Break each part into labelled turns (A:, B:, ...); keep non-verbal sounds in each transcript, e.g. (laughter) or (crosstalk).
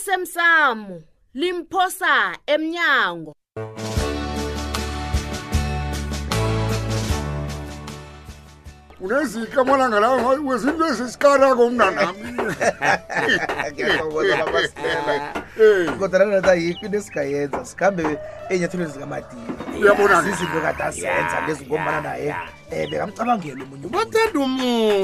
A: osemsamo limphosa emnyango
B: unezika amalanga lawo wezinto ezisikarako mnanami Eh,
C: kodananata yikho into esingayenza sikhambe ey'nyathelweni zikamadini
B: Uyabona-ke.
C: zizinto kade azenza lezi ngombana naye um bekamcabangela omunye umuntu.
D: bathanda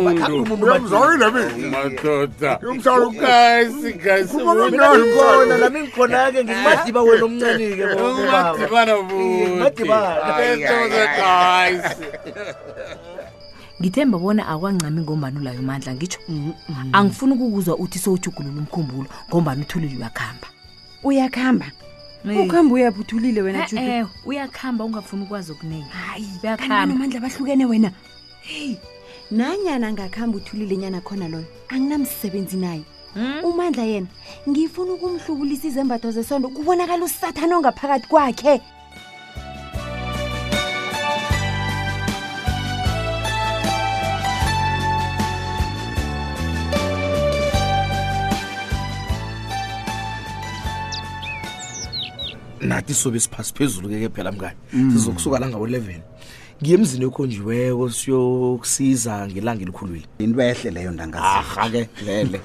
C: Bathanda
D: umuntu
C: umuntu
B: uyamzwakile
C: Madini.
B: mina.
D: madoda
B: Yomsalo
D: kasi kasi
B: Ukhuluma
D: wena
B: mnandi.
C: Ngikhona, nami ngikhona-ke ngingumadiba wena omncane-ke
D: ungumadibana
C: Ungumadibana.
D: bukeasi
E: ngithemba bona akwancami ngombani ulayo mandla ngitsho angifuni ukukuzwa uthi sowujugulula umkhumbulo ngombani uthulile uyakuhamba
F: uyakuhamba ukuhamba uyabhuthulile wena
E: Eh, eh, uyakuhamba ungafuni ukwazi okuningi uyakuhamba
F: amandla abahlukene wena heyi nanyana angakuhamba uthulile nyana khona loyo anginamsebenzi naye umandla yena ngifuna ukumhlubulisa izembatho zesondo kubonakala usathane ongaphakathi kwakhe
C: nathi sobe siphasi phezulu keke phela mngani sizokusuka la ngawo-eleven ngiye emzini ekhonjiweko siyokusiza ngelanga elikhulwile
G: into bayehle leyo ndangazi
C: aha-ke vele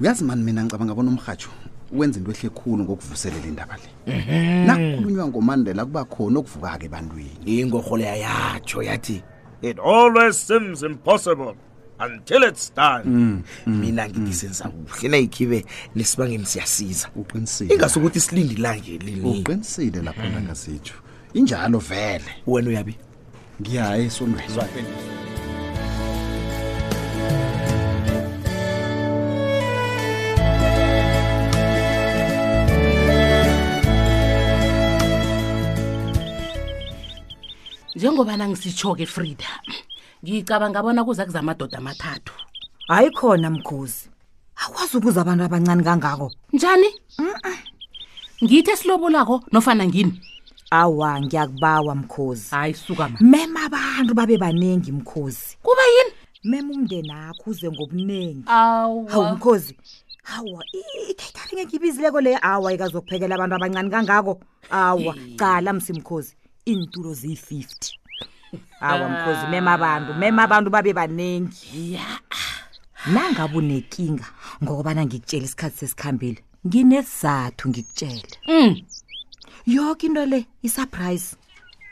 G: uyazi mani mina ngicabanga bona umrhatsho wenza into ehle khulu ngokuvuselela indaba le nakukhulunywa ngomandela kuba khona okuvuka-ke ebantwini
C: ingorhole yayatsho yathi
H: It always seems impossible until it's done.
C: Mm, mina ngithi senza kuhle nayikhibe nesibangeni siyasiza
G: uqinisile
C: ingasukuthi silinde ilange lini
G: uqinisile lapho ndangasitsho injalo vele
C: wena uyabe
G: ngiyaye esondweni
I: njengoba nangisitsho-ke frida ngicabanga bona kuza kuza amadoda amathathu
J: hayi khona mkhozi akwazi ukuza abantu abancane kangako
I: njani ngithi esilobolako nofana ngini
J: awa ngiyakubawa mkhozi
I: hayi suka ma
J: mema abantu babe baningi mkhozi
I: kuba yini
J: mema umndeni akho uze ngobuningi hawu
I: awa
J: mkhozi hawa ikheitharinge ngibizileko le awa ikazokuphekela abantu abancane kangako awa cala msimkhozi iintulo ziyi-fifty
I: Ah.
J: awa mkhozi mema abantu mema abantu babe baningi nangabe unenkinga ngokubana ngikutshela isikhathi sesikhambile nginesizathu ngikutshele
I: Mm.
J: yoke into le isurprise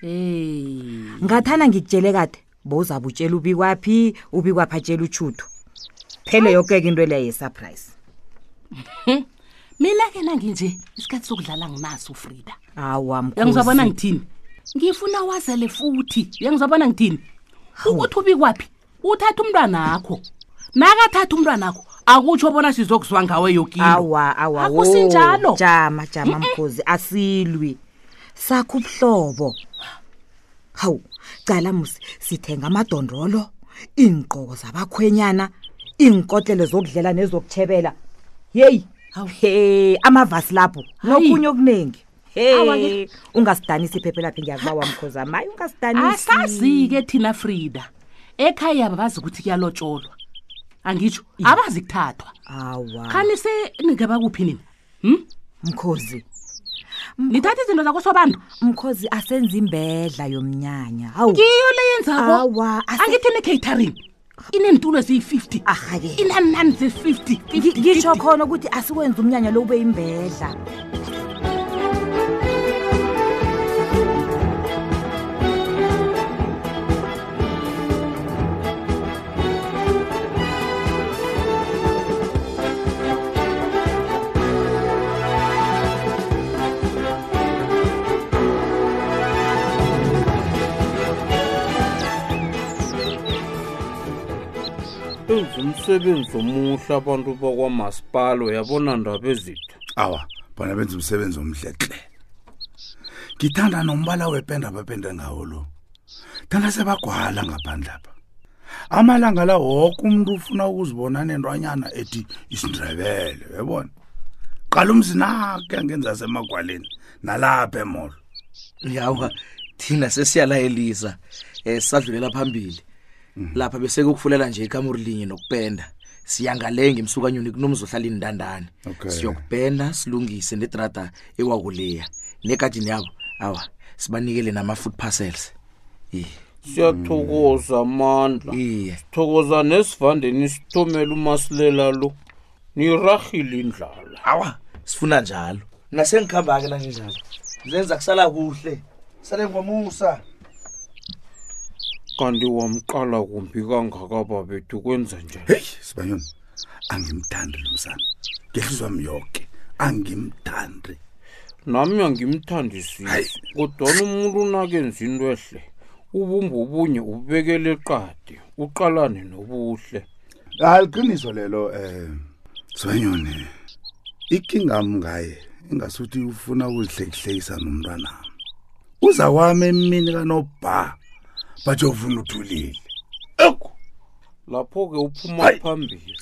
I: Eh.
J: ngathana ngikutshele kade bowuzabe utshela ubikwaphi ubikwaphi atshela utshudo phele yoke-ke into leyo yesurprise
I: mina-ke nanginje isikhathi sokudlala nginaso frida
J: awa
I: uyangizwabona
J: mkhozi
I: ngithini ngifuna wazele futhi uyangizwabona ngithini ukuthi ubi kwaphi uthatha umntwana akho nakathatha umntwana akho akutsho bona sizokuzwa ngawe yokini
J: awa awa wo.
I: Akusinjalo.
J: jama jama mkhozi asilwi sakho ubuhlobo hawu cala musi sithenga amadondolo iingqoko zabakhwenyana iinkotlelo zokudlela nezokuthebela yeyi
I: Hawu.
J: he amavasi lapho
I: Hayi.
J: nokunye okuningi
I: Awa
J: he
I: ke.
J: ungasidanisi iphephe laphi ngiyakubawa mkhozi am hayi ungasidanisi
I: asazi-ke thina frida ekhaya ababazi ukuthi kuyalotsholwa angitsho abazi kuthathwa
J: awa
I: khani seningeba kuphi nina hm?
J: mkhozi
I: nithatha izinto zakho sobantu
J: mkhozi asenza imbedla yomnyanya hawu
I: kiyo le yenzako
J: awa ase- Ah.
I: angithi ne-catering ineentulo eziyi-fifty
J: Arhake.
I: inanani ze-fifty
J: Ngi- ngisho khona ukuthi asikwenza umnyanya lo ube yimbedla
D: enza umsebenzi omuhle abantu bakwamasipala uyabona ndaba ezitho
B: awa bona benza umsebenzi omhle hle ngithanda nombala wependa abapenda ngawo lo thanda sebagwala ngaphandle apha amalanga la woke umntu ufuna ukuzibona nentwanyana ethi isindrebele uyabona qala umzinake angenza semagwaleni nalapha emolo
C: yawa thina eh, sesiyalayelisa um sadlulela phambili lapha beseke ukufulela nje ikamuri linye nokupenda
K: siyangale ngemsukanyoni kunomzohlala indandane
G: Okay.
K: siyokubhenda silungise netrada ewakuleya negadini yabo awa sibanikele nama-food parcels
D: siyathokoza mandla sithokoza nesivandeni sithumele umasilela lo nirahile indlala
K: awa sifuna njalo nasengikhamba-ke nangenjalo zenza kusala kuhle sale ngomusa
D: kanti wamqala kumbi kangaka babethu kwenza njani
G: heyi sibanyoni angimthandi lo msana ngehlizwa mi yoke angimthandi
D: nami angimthandisisi kodwana umuntu unakenza into ehle ubumba obunye ubekele qade uqalane nobuhle
G: aliqiniso lelo um sibanyoni ikingam ngaye ingasuthi ufuna ukuzihlekihlekisa nomntwanami uza kwami emini kanobha batsho ufuna uthulile
D: lapho-ke uphuma phambili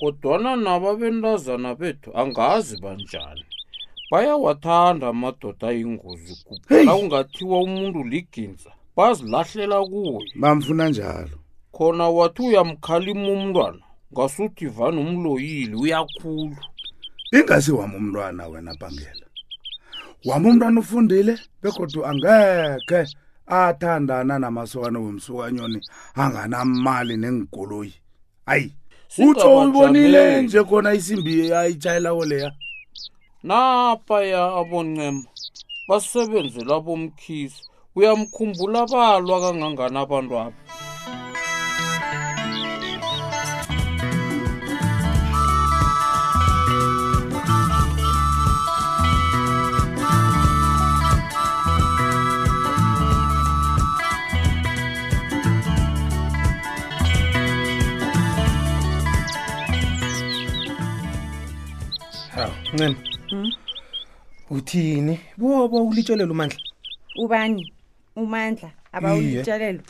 D: kodwana nababentazana bethu angazi banjani bayawathanda amadoda ayingozi kuphela ungathiwa umuntu liginza bazilahlela kuye
G: bamfuna njalo
D: khona wathi uyamkhalima umntwana ngasuthi vane umloyile uyakhulu
G: ingasi wami umntwana wena bangela wami umntwana ufundile begodwa angekhe athandana namasokana wemsukanyoni anganamali nengikoloyi ayi utsho uyibonile
D: Singabajameli.
G: nje khona isimbi ayitshayelako leya
D: naphaya aboncema basebenzela bomkhisi uyamkhumbula balwa kangangani abantu abo
L: hawu ncema uthini bobo ulitshelele umandla
F: ubani umandla abawulitshelelo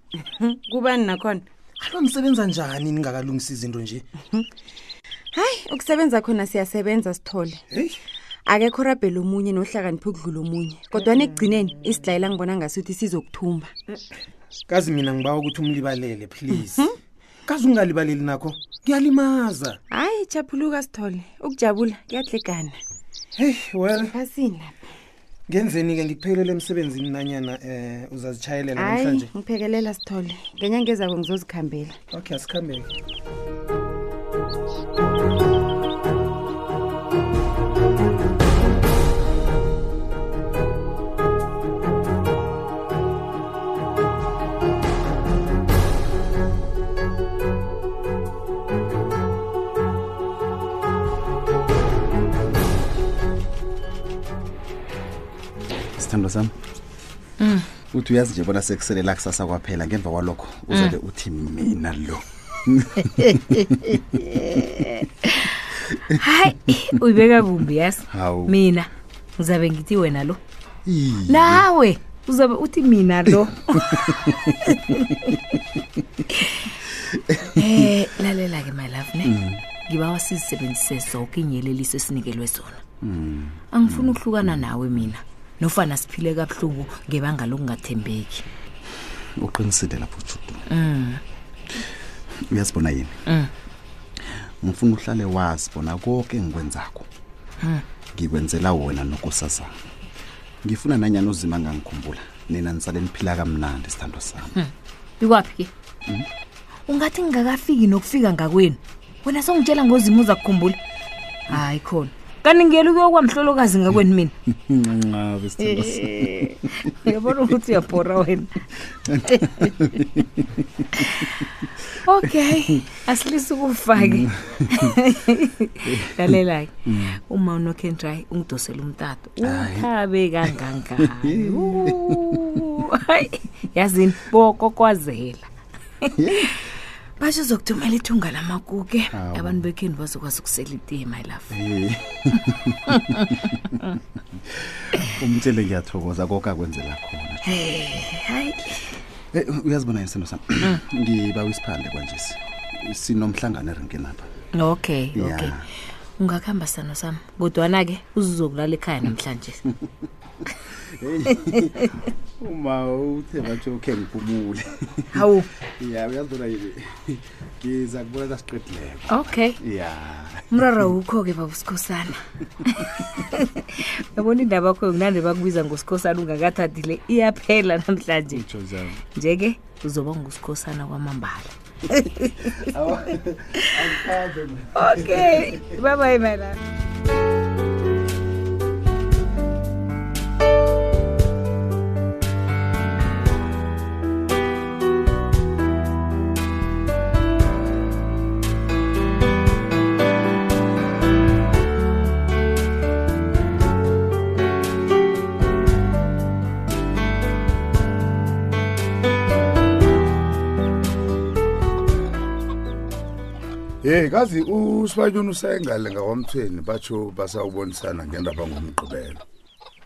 F: (laughs) kubani nakhona
L: alo nisebenza njani ningakalungisa izinto nje
F: hayi ukusebenza khona siyasebenza sithole akekho rabhela omunye nohlakaniphi ukudlula omunye kodwana ekugcineni isidilayela ngibona ngasuthi sizokuthumba
L: kazi mina ngibawa ukuthi umlibalele please kazi ungalibaleli nakho kuyalimaza
F: hayi chaphuluka sithole ukujabula kuyadlegana
L: heyi well
F: phasini lapha
L: ngenzeni-ke ngikuphekelele emsebenzini nanyana um uzazitshayelela
F: hayi
L: namhlanje
F: ngiphekelela sithole ngenyanga ezako ngizozikhambela
L: okay asikhambeke
C: sithandwa sami
J: Mm.
C: uthi uyazi nje bona sekuselela kusasa kwaphela ngemva kwalokho uzele uthi mina lo
J: hayi uyibeka kumbi yazi
C: Hawu.
J: mina ngizabe ngithi wena lo
C: Ii.
J: nawe uzabe uthi mina
C: (laughs)
J: lo um lalela-ke my love
C: Mm.
J: ne ngibawa sizisebenzise zonke iinyeleliso esinikelwe zona
C: Mm.
J: angifuni ukuhlukana nawe mina nofana siphile kabuhlungu ngebanga lokungathembeki
C: uqinisile lapho ujudu
J: um
C: uyazibona yini
J: um
C: ngifuna uhlale wazi bona konke engikwenzakho
J: Mm.
C: ngikwenzela wona nokusasa ngifuna nanyani uzima angangikhumbula nina nisale niphila kamnandi sithandwa sami
J: ikwaphi ke ungathi ngingakafiki nokufika ngakwenu wena songitshela ngozima uzakukhumbula hayi khona kanti ngiyela ukuyokwamhlolokazi ngakwenu mina
C: ncancabe sithandwa
J: Eh,
C: sami
J: uyabona ukuthi uyabhora wena okay asilise ukufake lalela-ke
C: (laughs) Mm.
J: uma unocan try ungidosele umtato
C: Hayi.
J: uthabe kangangani Uh, (laughs) hayi, yazini bokokwazela (laughs) basho zokuthumela ithunga lamakuke
C: Awu.
J: abantu bekheni bazokwazi ukusela itiye my love
C: Eh. umtshele ngiyathokoza konke akwenzela khona
J: hayi
C: Eh, uyazibona yini sithandwa sami ngibawa isiphande kwanjesi sinomhlangano erenkeni apha
J: okay okay
C: ya
E: ungakuhamba sano sami kodwana-ke uzizokulala ekhaya
C: (laughs)
E: namhlanje
M: uma uthe batsho khe ngiphumule
E: hawu
M: ya uyazibona yini ngiza kubona nasiqedileko
E: okay
M: ya
E: umraro wukho-ke baba usikhosana yabona indaba yakho yokunande bakubiza ngusikhosana ungakathathi le iyaphela namhlanje nje-ke uzoba ngusikhosana kwamambala (laughs) okay babaye mayelana
G: ye kazi usibanyoni usayengale ngakwamthweni batsho basawubonisana ngendaba ngomgqibelo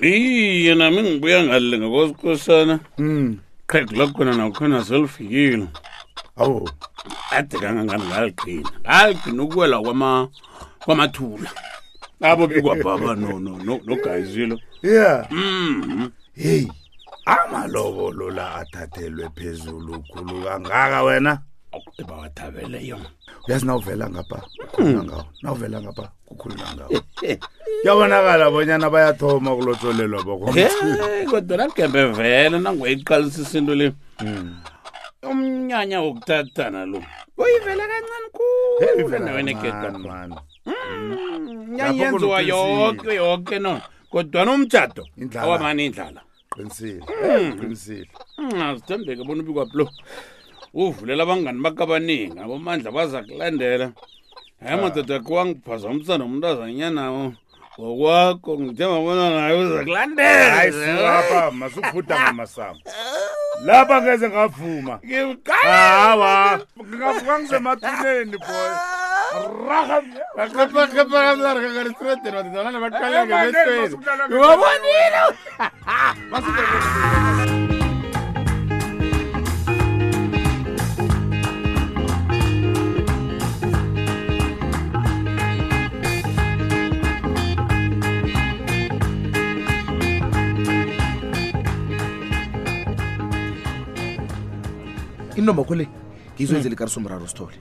D: iye nami ngibuya ngale ngakwasikhosana
G: Mm.
D: qheg lakhona nakhona selifikile
G: awu
D: ade kangangani ngaligqina ngaligqina ukuwela kwama- kwamathula abo bikwabhaba nogayizilo
G: ya
M: Mm-hmm.
D: Mhm.
G: heyi amalobolo la athathelwe phezulu khulu kangaka wena
D: akude bawathabele yona
G: uyazi nawuvela ngapha
B: Hmm.
G: kukhulunywa ngawo nawuvela ngapha kukhulunywa ngawo kuyabonakala bonyana bayathoma kulotsholelwa bokwamthweni
D: Eh, kodwa nagembe vele nangoyiqalisisa into le
G: Mm.
D: umnyanya wokuthathana lo uyivela kancane khulu endaweni egedapho
G: Lapho
D: nyanyenziwa
G: kunoqinisile.
D: yoke yoke no kodwana umtshato
G: Indlala.
D: awamani indlala
G: qinisile
D: Mm.
B: Hmm.
G: qinisile
D: azithembeke Ah, bona ubikwaplo uvulela abangani bakhe abaningi abamandla baza kulandela
B: Ah.
D: hayi madoda akhe wangiphazamisana nomntu azanyanawo ngokwakho ngithemba bona naye
G: Hayi,
D: uza
G: suka
D: kulandelahayilapha
G: masukhuda ngamasamo lapha ngeze ngavuma hawa ngavuka ngisemathuneni boy
C: intombakho le ngizoyenzela ikarisomraro sithole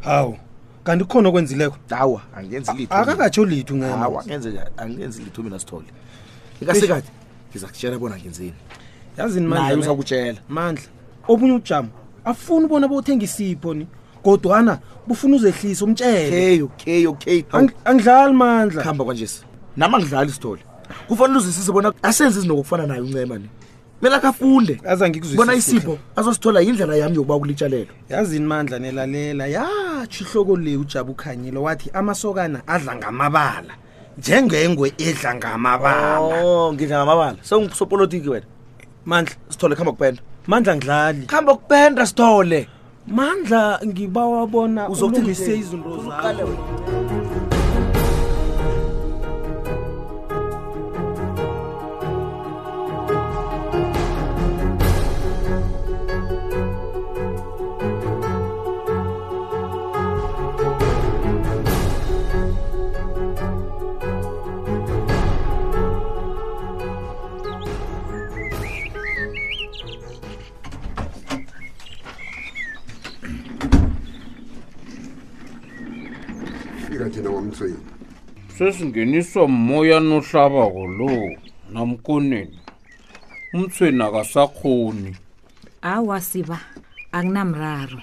N: hawu kanti kukhona okwenzileko
C: hawa angenzi litho
N: akakatsho litho ngena.
C: hawa angenze njani angenzi litho mina sithole ikasekade ngiza kutshela bona ngenzeni
N: yazini
C: Naye
N: ne?
C: uzakutshela.
N: mandla obunye ubujamo afuni ubona bothenga isipho ni kodwana bufuna uzehlisa
C: okay
N: umtshele
C: okay okay
N: Ang- angidlali mandla
C: hamba kwanjesi nami angidlali sithole kufanele uzwisise bona asenze izinto ngokufana naye uncema ni kumele akafunde
N: aza ngikuzwisise
C: bona isipho azosithola yindlela yami yokuba kulitshalelo
N: yazini mandla nelalela yatsho ihloko le ujaba ukhanyile wathi amasokana adla ngamabala njengengwe edla ngamabala
C: o Oh, ngidla ngamabala sengisopolitiki wena
N: mandla
C: sithole khamba kupenda
N: mandla ngidlali
C: khamba kupenda sithole
N: mandla ngibawabona
C: Uzokuthi
N: ulungise
C: nje-
N: izinto
C: uqale
N: zakho
B: fika thina ngomthweni
D: sesingeniswa moya nohlabako lo namkoneni umthweni akasakhoni
E: awa siba akunamraro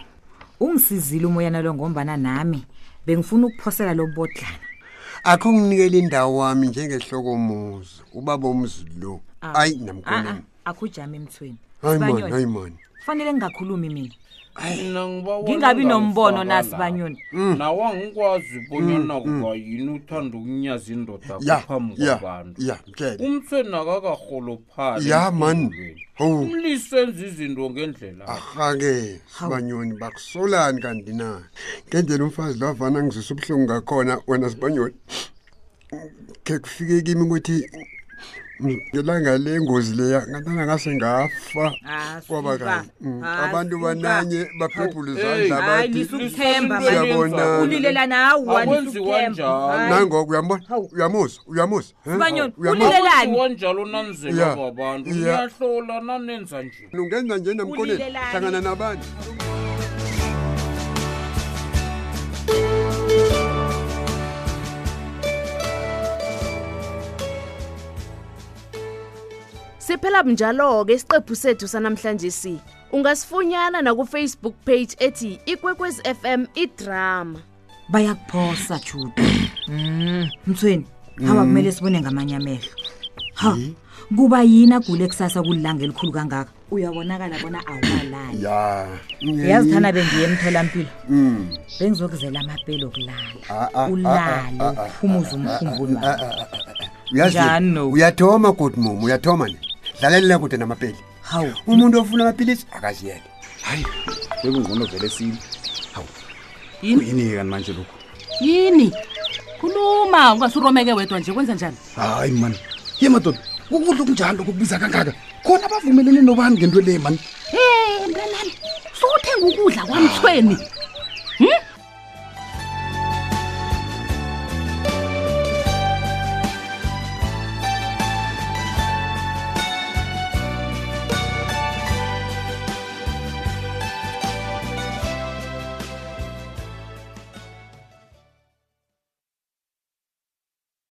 E: ungisizile umoyana lo ngombana nami bengifuna ukuphosela lo bodlana
B: akho nginikele indawo wami njengehlokomuzi ubaba umzi lo ayi namkoneni
E: akujami emthweni
J: ah.
B: hayi mani
E: Sibanyoni,
B: hayi mani
E: kufanele ngingakhulumi mina
D: ngingabi
E: ngingabi nombono na sibanyoni
D: nawa ngikwazi Mm. bonyana
B: Mm, mm.
D: kuba yini uthanda ukunyaza indoda
B: ya
D: kuphambi
B: ya
D: kwabantu
B: ya mtshele
D: umthweni akakarholophali
B: ya mani hawu
D: umlisi enza izinto ngendlela
B: Ah. rhake sibanyoni bakusolani kanti na ngendlela umfazi lo avana ngizwisa ubuhlungu ngakhona wena sibanyoni khe kufike kimi ukuthi ngelanga lengozi leya ngatana ngase ngafa
J: Ah,
B: kwaba
J: suka.
B: kanye Mm,
J: Ah,
B: abantu
J: suka.
B: bananye baphephula
J: Hayi,
B: izandla
J: hayi,
B: bathi,
J: nisukuthemba mani.
B: "Siyabonana."
J: ulilela nawo
D: Akwenziwa njalo.
B: nangoku uyambona uyamuzwa uyamuzwa eh?
J: Sibanyoni,
B: Uyamuzwa?
D: wanjalo nanzelwa
B: Ya,
D: babantu
B: ya.
D: niyahlola nanenza nje
B: ungenza nje namkoneni
D: Ulilelani.
B: hlangana nabantu
A: Siphela njalo ke isiqephu sethu sanamhlanje si. Ungasifunyana na ku Facebook page ethi Ikwekwezi FM iDrama.
J: bayakuphosa juda mthweni hawa
A: Mm.
J: kumele sibone ngamanye amehlo ha kuba yini agule kusasa kulilanga elikhulu kangaka uyabonakala bona awalali
B: ya
J: yazi thana bengiye emtholampilo
B: Mm.
J: bengizokuzela amapelo okulala
B: Ah, ah,
J: ulale
B: ah, ah, ah,
J: uphumuze
B: ah, ah,
J: umkhumbulo
B: ah,
J: wakho.
B: ah, ah, ah. Uyazi, uyathoma kude mom uyathoma ne dlalelela kude namapeli
J: hawu
B: umuntu ofuna amapilisi akaziyele hayi bekungono vele sile hawu yini kani manje lokhu
I: yini khuluma ungasuromeke wedwa nje kwenza njani
M: hayi mani ye madoda kukudla okunjalo kokubiza kangaka khona bavumelene nobani ngento le mani
I: e mntanami sowuthenga ukudla kwamthweni